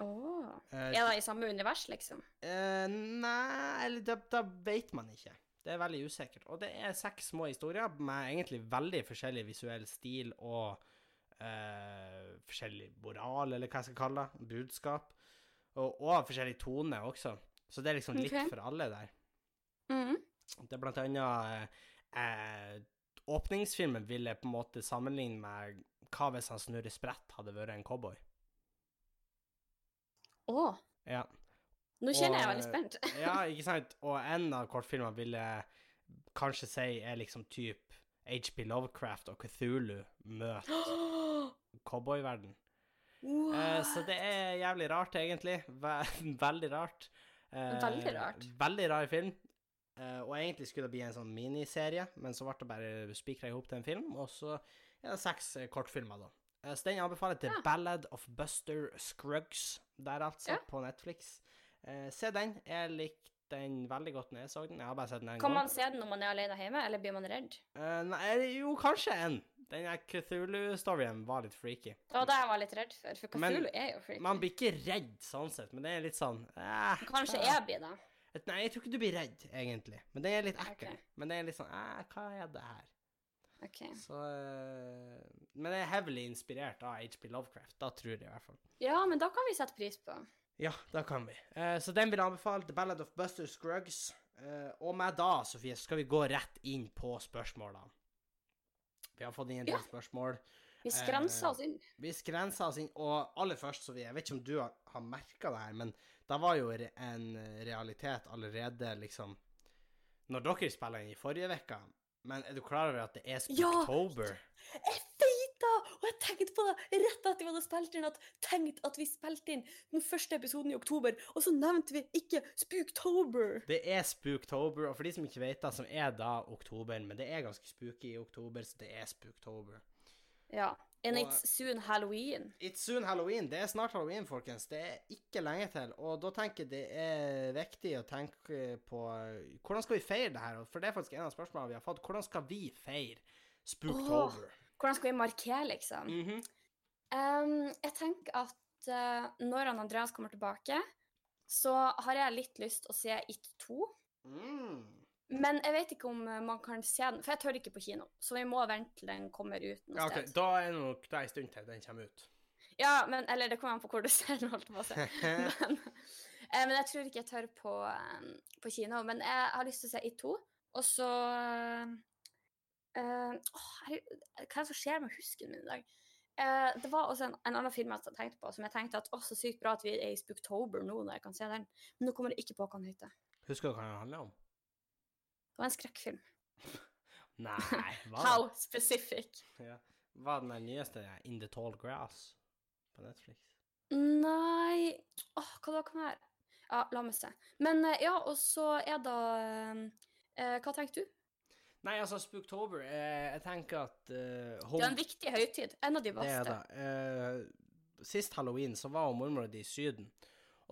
S2: Åh.
S1: Eh,
S2: Er det i samme univers, liksom?
S1: eh, nei, eller da, da vet man ikke. Det er veldig usikkert. Og det er seks små historier med egentlig veldig forskjellig visuell stil og eh, forskjellig moral, eller hva jeg skal kalle det, budskap. Og, og forskjellig tone også. Så det er liksom litt
S2: Ok.
S1: for alle der.
S2: Mhm.
S1: Det er blant annet eh, eh, Åpningsfilmen ville på en måte sammenligne med hva hvis han Snurre Sprett hadde vært en cowboy.
S2: Åh.
S1: Ja.
S2: Nå
S1: Og-
S2: kjenner jeg jeg er veldig spent.
S1: ja, ikke sant? Og en av kortfilmene ville kanskje si er liksom typ HB Lovecraft og Cthulhu møter cowboyverden. Eh, så det er jævlig rart, egentlig. Ve- Veldig rart. Eh,
S2: Veldig rart.
S1: Veldig rar film. Eh, og egentlig skulle det bli en sånn miniserie, men så ble det bare spikra i hop til en film. Og så er det seks eh, kortfilmer, da. Eh, så den anbefaler jeg til
S2: Ja.
S1: Ballad of Buster Scruggs der, altså,
S2: Ja.
S1: på Netflix. Eh, se den. Jeg likte den veldig godt når jeg så den. Jeg har bare sett den én
S2: Kan
S1: gang.
S2: man se den når man er alene hjemme, eller blir man redd?
S1: Eh, nei, jo, kanskje en. Den der Cthulhu-storyen var litt freaky.
S2: Det var det jeg var litt redd for, for
S1: Men-
S2: Cthulhu er jo freaky.
S1: Man blir ikke redd sånn sett, men det er litt sånn eh,
S2: Kanskje
S1: hva-
S2: jeg blir det.
S1: Et- Nei, jeg tror ikke du blir redd, egentlig. Men det er litt ekkel.
S2: Ok.
S1: Men det er litt sånn eh, Hva er det her?
S2: Ok.
S1: Så eh, Men det er heavily inspirert av HB Lovecraft. Da tror jeg i hvert fall.
S2: Ja, men da kan vi sette pris på.
S1: Ja, da kan vi. Eh, så den vil jeg anbefale. The Ballad of Buster Scruggs. Eh, og med da, Sofie, skal vi gå rett inn på spørsmålene. Vi har fått inn en del
S2: Ja.
S1: spørsmål.
S2: Vi skrenser
S1: Eh,
S2: oss inn.
S1: Vi skrensa oss inn, og aller først, Sofie, jeg vet ikke om du har, har merka det her, men det var jo re- en realitet allerede, liksom Når dere spilla inn i forrige uke, men er du klar over at det er
S2: Ja!
S1: Spooktober?
S2: Jeg vet det! Og jeg tenkte på det rett etter vi hadde spilt inn, at tenkt at vi spilte inn den første episoden i oktober, og så nevnte vi ikke Spooktober.
S1: Det er Spooktober, og for de som ikke vet det, som er da oktober, men det er ganske spooky i oktober, så det er Spooktober.
S2: Ja. And
S1: Og-
S2: it's soon Halloween.
S1: It's soon halloween. Det er snart halloween, folkens. Det er ikke lenge til. Og da tenker jeg det er viktig å tenke på eh, hvordan skal vi feire det her? For det er faktisk en av spørsmålene vi har fått. Hvordan skal vi feire Spooktober?
S2: Hvordan skal vi markere, liksom?
S1: Mhm.
S2: Ehm, jeg tenker at eh, når han Andreas kommer tilbake, så har jeg litt lyst å se It 2.
S1: Mm.
S2: Men jeg vet ikke om eh, man kan se den, for jeg tør ikke på kino. Så vi må vente til den kommer ut noe
S1: Ja, ok.
S2: sted.
S1: Da er det nok det er en stund til den kommer ut.
S2: Ja, men, eller det kommer an på hvor du ser den, holdt jeg på å si. Men, eh, men jeg tror ikke jeg tør på, eh, på kino. Men jeg har lyst til å se It 2, og så eh, eh, åh, herregud, Hva er det som skjer med husken min i dag? Eh, det var også en, en annen film jeg tenkte på, som jeg tenkte at å, så sykt bra at vi er i Spooktober nå, når jeg kan se den. Men nå kommer det ikke på hva den heter.
S1: Husker du hva den handler om?
S2: Det var en skrekkfilm.
S1: Nei, hva
S2: How specific?
S1: ja. Var den der nyeste der, In the Tall Grass på Netflix?
S2: Nei Åh, hva da kan det være? Ja, la meg se. Men eh, ja, og så er da eh, Hva tenker du?
S1: Nei, altså, Spooktober eh, Jeg tenker at eh,
S2: Det
S1: home-
S2: er en viktig høytid. En av de
S1: Det er
S2: beste.
S1: det. Eh, sist halloween så var jo mormor di i Syden,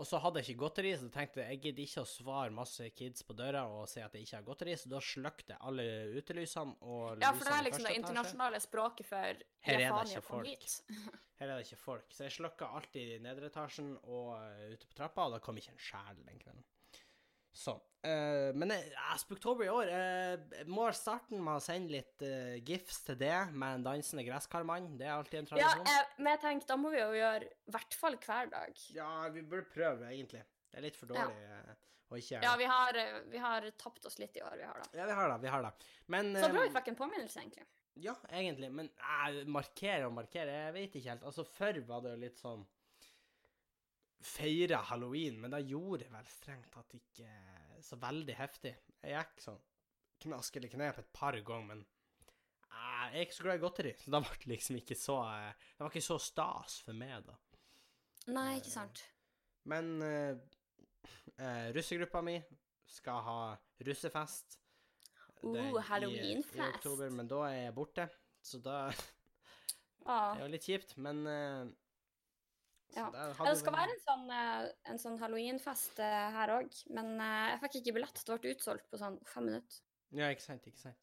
S1: og så hadde jeg ikke godteri, så tenkte jeg jeg gidder ikke å svare masse kids på døra og si at jeg ikke har godteri, så da sløkte jeg alle utelysene og
S2: Ja, for
S1: lysene
S2: det
S1: i
S2: er
S1: første
S2: liksom det
S1: etasje.
S2: internasjonale språket for
S1: Her er det
S2: Japania
S1: ikke
S2: kom
S1: folk.
S2: hit.
S1: Her er det ikke folk, så jeg slukka alltid i nedre etasjen og eh, ute på trappa, og da kom ikke en sjel den kvelden. Sånn. Eh, men eh, ja, Spooktober i år eh, Jeg må starte med å sende litt eh, gifs til det med en dansende gresskarmann. Det er alltid en
S2: Ja,
S1: tradisjon.
S2: jeg, men jeg tenkte, da må vi jo gjøre i hvert fall hver dag.
S1: Ja, vi burde prøve, egentlig. Det er litt for
S2: Ja.
S1: dårlig eh, å ikke gjøre
S2: Ja,
S1: det.
S2: vi har, eh, vi har tapt oss litt i år, vi har da.
S1: Ja, vi har det. Vi har det. Men
S2: Så bra
S1: eh,
S2: vi fikk en påminnelse, egentlig.
S1: Ja, egentlig. Men eh, markere og markere, jeg vet ikke helt. Altså, før var det jo litt sånn Feire eh, halloween, men da gjorde jeg vel strengt tatt ikke så veldig heftig. Jeg gikk sånn knask eller knep et par ganger, men eh, jeg er ikke så glad i godteri, så da ble det liksom ikke så eh, Det var ikke så stas for meg, da.
S2: Nei,
S1: Eh,
S2: ikke sant.
S1: Men eh, eh, russegruppa mi skal ha russefest.
S2: Oh,
S1: Det er i- I
S2: Halloweenfest.
S1: oktober, men da er jeg borte, så da Det er
S2: Ja.
S1: jo litt kjipt, men eh, så
S2: Ja.
S1: der hadde
S2: Ja, Det skal
S1: vi-
S2: være en sånn, eh, en sånn halloweenfest eh, her òg, men eh, jeg fikk ikke billett. Det ble utsolgt på sånn fem minutter.
S1: Ja, ikke sant, ikke sant.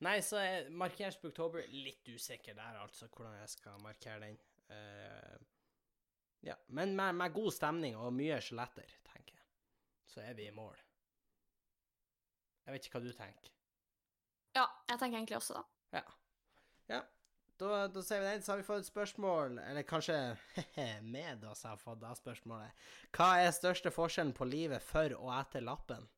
S1: Nei, så jeg markeres på oktober. Litt usikker der, altså, hvordan jeg skal markere den. Eh, ja, men med, med god stemning og mye skjeletter, tenker jeg, så er vi i mål. Jeg vet ikke hva du tenker.
S2: Ja, jeg tenker egentlig også da.
S1: Ja. Ja, da, da ser vi den. Så har vi fått et spørsmål, eller kanskje med oss har fått da spørsmålet. Hva er største forskjellen på livet før og etter lappen?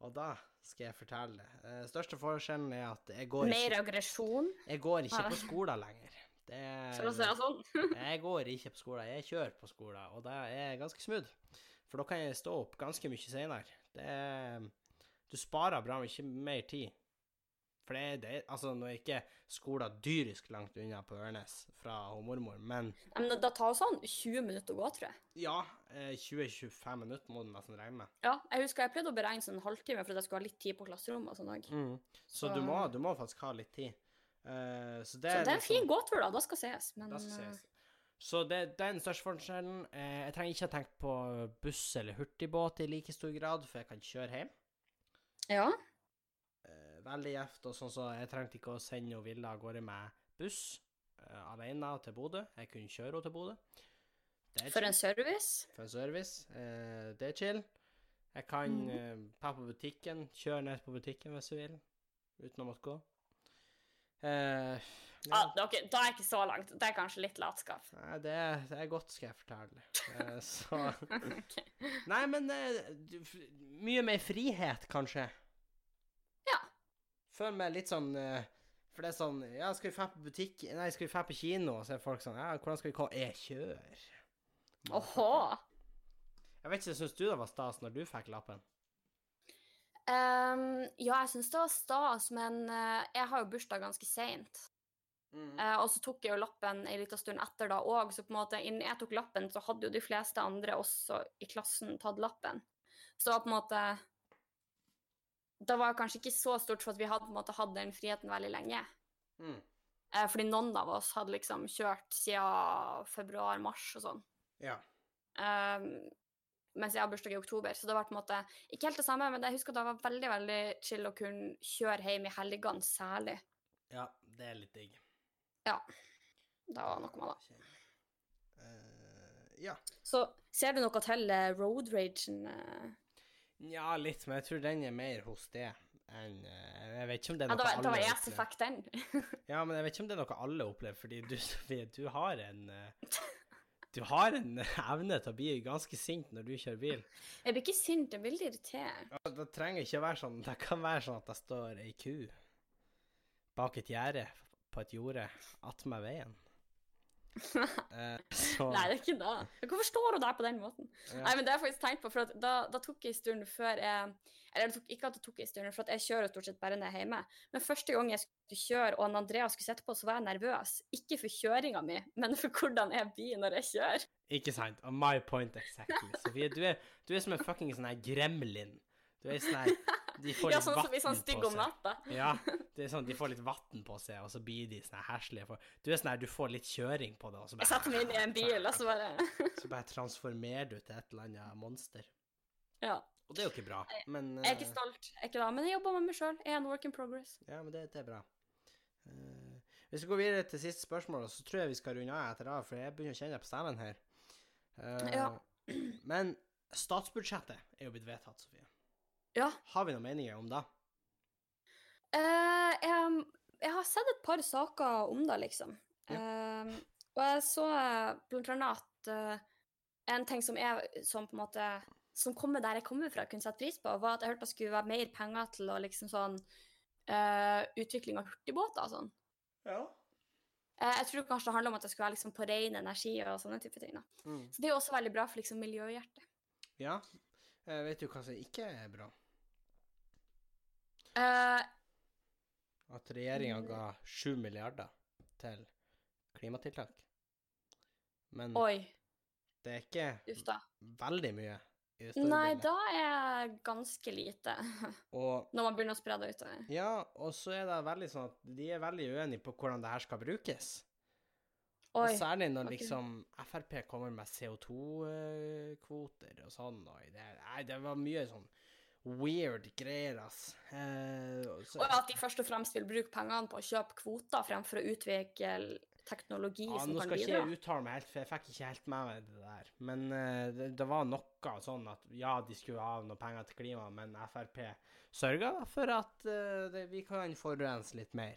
S1: Og da skal jeg fortelle det. Eh, Største forskjellen er at jeg går
S2: Mer
S1: ikke,
S2: aggresjon,
S1: jeg går ikke
S2: Ja.
S1: på skolen lenger. Det
S2: for å si det
S1: er,
S2: sånn.
S1: jeg går ikke på skolen, jeg kjører på skolen, og det er ganske smooth. For da kan jeg stå opp ganske mye senere. Det er, du sparer bra mye mer tid. For det, er- det er- altså nå er ikke skolen dyrisk langt unna på Ørnes fra hun mormor, men
S2: Nei, Men det, det tar jo sånn 20 minutter å gå, tror jeg.
S1: ja, eh, 20-25 minutter må du nesten regne med.
S2: Ja, jeg husker jeg pleide å beregne sånn en halvtime for at jeg skulle ha litt tid på klasserommet og sånn
S1: Mm,
S2: òg.
S1: Så, du, må, du må faktisk ha litt tid. Eh, så det
S2: Så det er en
S1: liksom-
S2: fin gåtur, da. Da skal ses. Men eh,
S1: Da skal ses. Så det, det er den største forskjellen. Eh, jeg trenger ikke å tenke på buss eller hurtigbåt i like stor grad, for jeg kan kjøre hjem.
S2: eh, ja.
S1: eh, veldig gjevt, og sånn så jeg trengte ikke å sende hun Vilde av gårde med buss eh, alene til Bodø. Jeg kunne kjøre henne til Bodø. Det er
S2: For en
S1: chill.
S2: service.
S1: For en service. Eh, det er chill. Jeg kan
S2: Mhm.
S1: eh, dra på butikken, kjøre ned på butikken hvis jeg vil, uten å måtte gå. Eh,
S2: Ja,
S1: ja.
S2: det- ok, da er jeg ikke så langt. Det er kanskje litt latskap.
S1: Nei, det, det er godt, skal jeg fortelle. Eh, så Nei, men eh, du, f- mye mer frihet, kanskje.
S2: Ja.
S1: Føler meg litt sånn eh, For det er sånn Ja, skal vi dra på butikk Nei, skal vi dra på kino? Og så er folk sånn Ja, hvordan skal vi gå? Jeg kjører.
S2: Åhå.
S1: Jeg vet ikke, syns du det var stas når du fikk lappen?
S2: Ehm, ja, jeg syns det var stas, men eh, jeg har jo bursdag ganske seint. Eh, og så tok jeg jo lappen en liten stund etter da òg, så på en måte innen jeg tok lappen, så hadde jo de fleste andre også i klassen tatt lappen. Så det var på en måte Det var kanskje ikke så stort, for at vi hadde på en måte hatt den friheten veldig lenge.
S1: Mm.
S2: Eh, fordi noen av oss hadde liksom kjørt siden februar-mars og sånn.
S1: Ja.
S2: Ehm, mens jeg har bursdag i oktober, så det var på en måte ikke helt det samme, men jeg husker det var veldig veldig chill å kunne kjøre hjem i helgene særlig.
S1: Ja, det er litt digg.
S2: Det var noe med det.
S1: Eh, ja.
S2: Så ser du noe til eh, road ragen? eh?
S1: Nja, litt, men jeg tror den er mer hos det enn eh, Jeg vet ikke om det er
S2: Ja, det
S1: noe
S2: var, det var
S1: alle
S2: jeg som
S1: opplever.
S2: fikk den.
S1: Ja, men jeg vet ikke om det er noe alle opplever, fordi du, Sofie, du har en eh, Du har en evne til å bli ganske sint når du kjører bil.
S2: Jeg blir ikke sint, jeg blir litt irritert.
S1: Ja, Det trenger ikke å være sånn. Det kan være sånn at det står ei ku bak et gjerde på et jorde attmed veien. Eh, så
S2: Nei, det er ikke det. Hvorfor står hun der på den måten?
S1: Ja.
S2: Nei, men det har jeg faktisk tenkt på, for at da, da tok jeg en stund før jeg Eller det tok, ikke at det tok en stund, for at jeg kjører stort sett bare når jeg er hjemme. Men første gang jeg skulle kjøre og en Andreas skulle sitte på, så var jeg nervøs. Ikke for kjøringa mi, men for hvordan jeg blir når jeg kjører.
S1: Ikke sant? On my point exactly. Sofie, du er, du er som en fucking sånn her gremlin. Du er sånn her De får
S2: Ja,
S1: litt
S2: sånn som blir
S1: vann
S2: sånn stygg
S1: på
S2: om
S1: seg.
S2: natta.
S1: Ja, det er sånn, de får litt vatten på seg, og så blir de sånn her heslige. For du er sånn her, du får litt kjøring på det, og så bare
S2: Jeg setter meg inn i en bil, altså. og så bare
S1: Så bare transformerer du til et eller annet monster.
S2: Ja.
S1: Og det er jo ikke bra, men
S2: Jeg er ikke
S1: eh,
S2: stolt, jeg er ikke da, men jeg jobber med meg sjøl. Jeg er en work in progress.
S1: Ja, men det, det er bra. Eh, hvis vi går videre til siste spørsmål, så tror jeg vi skal runde av etter det, for jeg begynner å kjenne på stemmen her. Eh,
S2: Ja.
S1: Men statsbudsjettet er jo blitt vedtatt, Sofie.
S2: Ja.
S1: Har vi noen meninger om det?
S2: Eh, jeg, jeg har sett et par saker om det, liksom. Eh, og jeg så eh, blant annet at eh, en ting som jeg som på en måte som kommer der jeg kommer fra, kunne sette pris på, var at jeg hørte det skulle være mer penger til å liksom sånn eh, utvikling av hurtigbåter og sånn.
S1: Ja.
S2: Eh, jeg tror kanskje det handler om at det skulle være liksom på ren energi og sånne type ting. da.
S1: Mm.
S2: Så det er jo også veldig bra for liksom miljøhjertet.
S1: Ja. Eh, vet du hva som ikke er bra?
S2: Eh,
S1: At regjeringa
S2: Mm.
S1: ga 7 milliarder til klimatiltak. Men
S2: oi,
S1: det er ikke
S2: uff da.
S1: veldig mye i det store
S2: Nei,
S1: bildet.
S2: da er ganske lite,
S1: Og
S2: når man begynner å spre det utover.
S1: ja, og så er det veldig sånn at de er veldig uenige på hvordan det her skal brukes. og
S2: Oi,
S1: særlig når
S2: ok.
S1: liksom Frp kommer med CO2-kvoter eh, og sånn. Og det, nei, det var mye sånn weird greier, ass. Eh, og så-
S2: og at de først og fremst vil bruke pengene på å kjøpe kvoter fremfor å utvikle teknologi
S1: Ja,
S2: som
S1: nå
S2: kan
S1: skal ikke
S2: bidra.
S1: jeg uttale meg helt, for jeg fikk ikke helt med meg det der. Men eh, det, det var noe sånn at ja, de skulle ha noe penger til klima, men Frp sørga for at eh, det, vi kan forurense litt mer.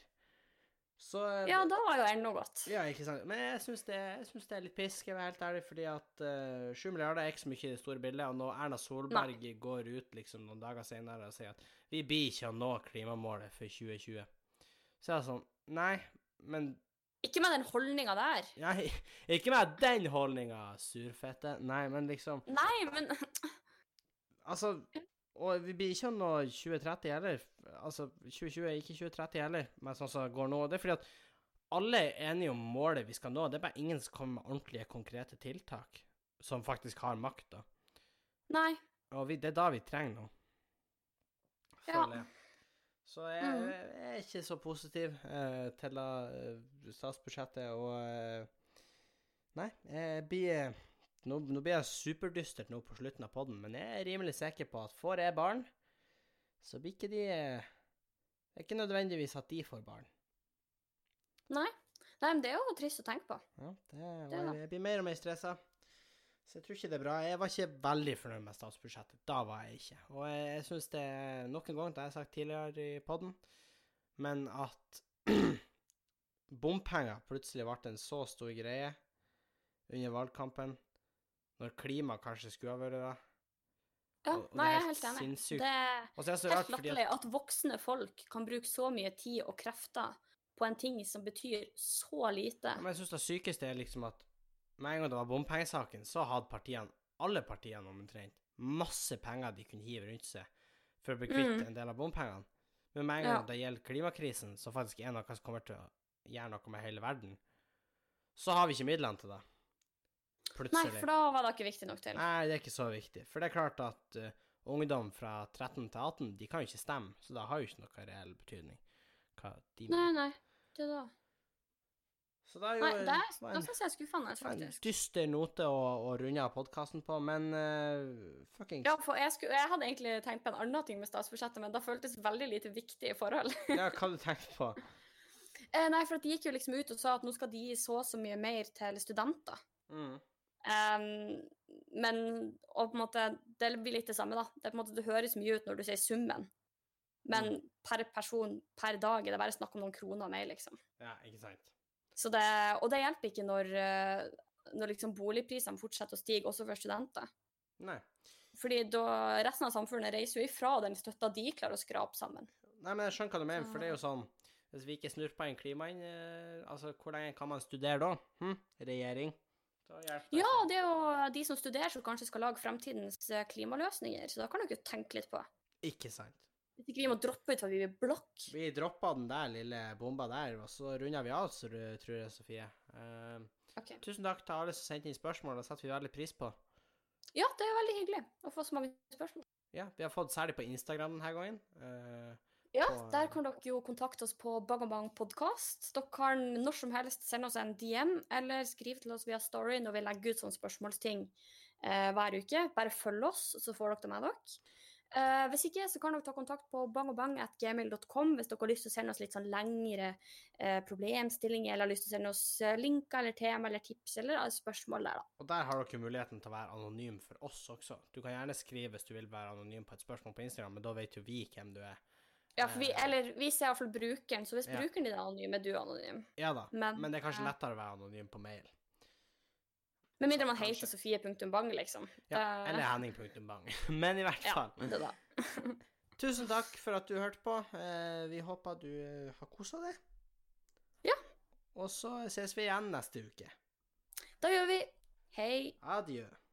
S1: Så eh,
S2: Ja, da var jo ennå godt.
S1: ja, ikke sant. Men jeg syns det, jeg synes det er litt pisk, jeg er helt ærlig, fordi at eh, 7 milliarder er ikke så mye i det store bildet, og når Erna Solberg går ut liksom noen dager senere og sier at vi blir ikke å nå klimamålet for 2020, så er det sånn Nei, men
S2: Ikke med den holdninga der.
S1: Nei, ikke med den holdninga, surfette. Nei, men liksom
S2: Nei, men
S1: Altså, og vi blir ikke å nå 2030 heller. Altså, 2020 er ikke 2030 heller, men sånn som det går nå. Det er fordi at alle er enige om målet vi skal nå, det er bare ingen som kommer med ordentlige, konkrete tiltak som faktisk har makta.
S2: Nei.
S1: Og vi, det er da vi trenger noe.
S2: Ja.
S1: Føler jeg. Så jeg,
S2: Mhm.
S1: jeg er ikke så positiv eh, til eh, statsbudsjettet og eh, Nei, jeg blir eh, nå, nå blir jeg superdystert nå på slutten av poden, men jeg er rimelig sikker på at får jeg barn, så blir ikke de eh, Det er ikke nødvendigvis at de får barn.
S2: Nei, men det er jo trist å tenke på.
S1: Ja, det, og
S2: Ja.
S1: jeg, jeg blir mer og mer stressa. Så jeg tror ikke det er bra. Jeg var ikke veldig fornøyd med statsbudsjettet. Da var jeg ikke. Og jeg, jeg syns det Nok en gang, det har jeg sagt tidligere i poden, men at bompenger plutselig ble en så stor greie under valgkampen, når klima kanskje skulle ha vært det.
S2: Ja,
S1: Og- og det er
S2: nei, jeg er
S1: helt
S2: helt enig.
S1: sinnssykt.
S2: Det er
S1: Og så er det så rart,
S2: helt
S1: fordi
S2: latterlig
S1: at
S2: at voksne folk kan bruke så mye tid og krefter på en ting som betyr så lite.
S1: Ja, Men jeg syns det sykeste er liksom at med en gang det var bompengesaken, så hadde partiene, alle partiene omtrent, masse penger de kunne hive rundt seg for å bli kvitt
S2: Mm.
S1: en del av bompengene. Men med en gang
S2: Ja.
S1: det gjelder klimakrisen, som faktisk er noe som kommer til å gjøre noe med hele verden, så har vi ikke midlene til det.
S2: Nei,
S1: Plutselig.
S2: for da var det ikke viktig nok til.
S1: Nei, det er ikke så viktig. For det er klart at eh, ungdom fra 13 til 18, de kan jo ikke stemme, så det har jo ikke noe reell betydning. Hva de
S2: Nei, nei. Det da.
S1: Så det er jo
S2: Nei, det er,
S1: var
S2: da
S1: en
S2: synes jeg er skuffende,
S1: Det var en
S2: faktisk.
S1: dyster note å, å runde av podkasten på, men uh, fuckings
S2: Ja,
S1: ja.
S2: for jeg, skulle, jeg hadde egentlig tenkt på en annen ting med statsbudsjettet, men det føltes veldig lite viktig i forhold.
S1: hva du tenker på?
S2: Eh, nei, for at de gikk jo liksom ut og sa at nå skal de gi så og så mye mer til studenter.
S1: Mm.
S2: Em, men og på en måte, det blir litt det samme, da. Det, er på en måte, det høres mye ut når du sier summen, men per person per dag er det bare snakk om noen kroner mer, liksom.
S1: Ja, ikke sant?
S2: Så det, og det hjelper ikke når, eh, når liksom boligprisene fortsetter å stige, også for studenter.
S1: Nei.
S2: Fordi da resten av samfunnet reiser jo ifra den støtta de klarer å skrape sammen.
S1: Nei, men jeg skjønner hva du mener, for det er jo sånn Hvis vi ikke snurper inn klimaet, eh, altså, hvor lenge kan man studere da? Hm? Regjering? Da hjelper det
S2: Ja,
S1: ikke.
S2: det er jo de som studerer som kanskje skal lage fremtidens eh, klimaløsninger, så da kan dere jo tenke litt på.
S1: Ikke sant.
S2: Hvis ikke vi må droppe ut for vi blir blokk.
S1: Vi droppa den der lille bomba der, og så runder vi av, så du- tror jeg, Sofie. Eh,
S2: Ok.
S1: tusen takk til alle som sendte inn spørsmål, det setter vi veldig pris på.
S2: Ja, det er veldig hyggelig å få så mange spørsmål.
S1: Ja, vi har fått særlig på Instagram denne gangen. Eh,
S2: Ja,
S1: Og, eh,
S2: der kan dere jo kontakte oss på Bagabang podcast. Dere kan når som helst sende oss en DM, eller skrive til oss via story når vi legger ut sånne spørsmålsting eh, hver uke. Bare følg oss, så får dere det med dere. Eh, hvis ikke, så kan dere ta kontakt på bangobang.gmail.com hvis dere har lyst til å sende oss litt sånn lengre eh, problemstillinger, eller har lyst til å sende oss eh, linker eller tema eller tips eller eh, spørsmål der, da.
S1: Og der har dere muligheten til å være anonym for oss også. Du kan gjerne skrive hvis du vil være anonym på et spørsmål på Instagram, men da vet jo vi hvem du er.
S2: Ja, for vi,
S1: Eh.
S2: eller, vi ser i hvert fall brukeren, så hvis
S1: Ja.
S2: brukeren din er anonym, er du anonym.
S1: Ja da,
S2: Men,
S1: men det er kanskje
S2: eh,
S1: lettere å være anonym på mail.
S2: Med mindre man heter
S1: Kanskje.
S2: Sofie.bang, liksom.
S1: Ja,
S2: Eh,
S1: Eller Henning.bang. Men i hvert
S2: Ja.
S1: fall.
S2: det da.
S1: Tusen takk for at du hørte på. Eh, Vi håper du eh, har kosa deg.
S2: Ja.
S1: Og så ses vi igjen neste uke.
S2: Da gjør vi Hei.
S1: Adjø.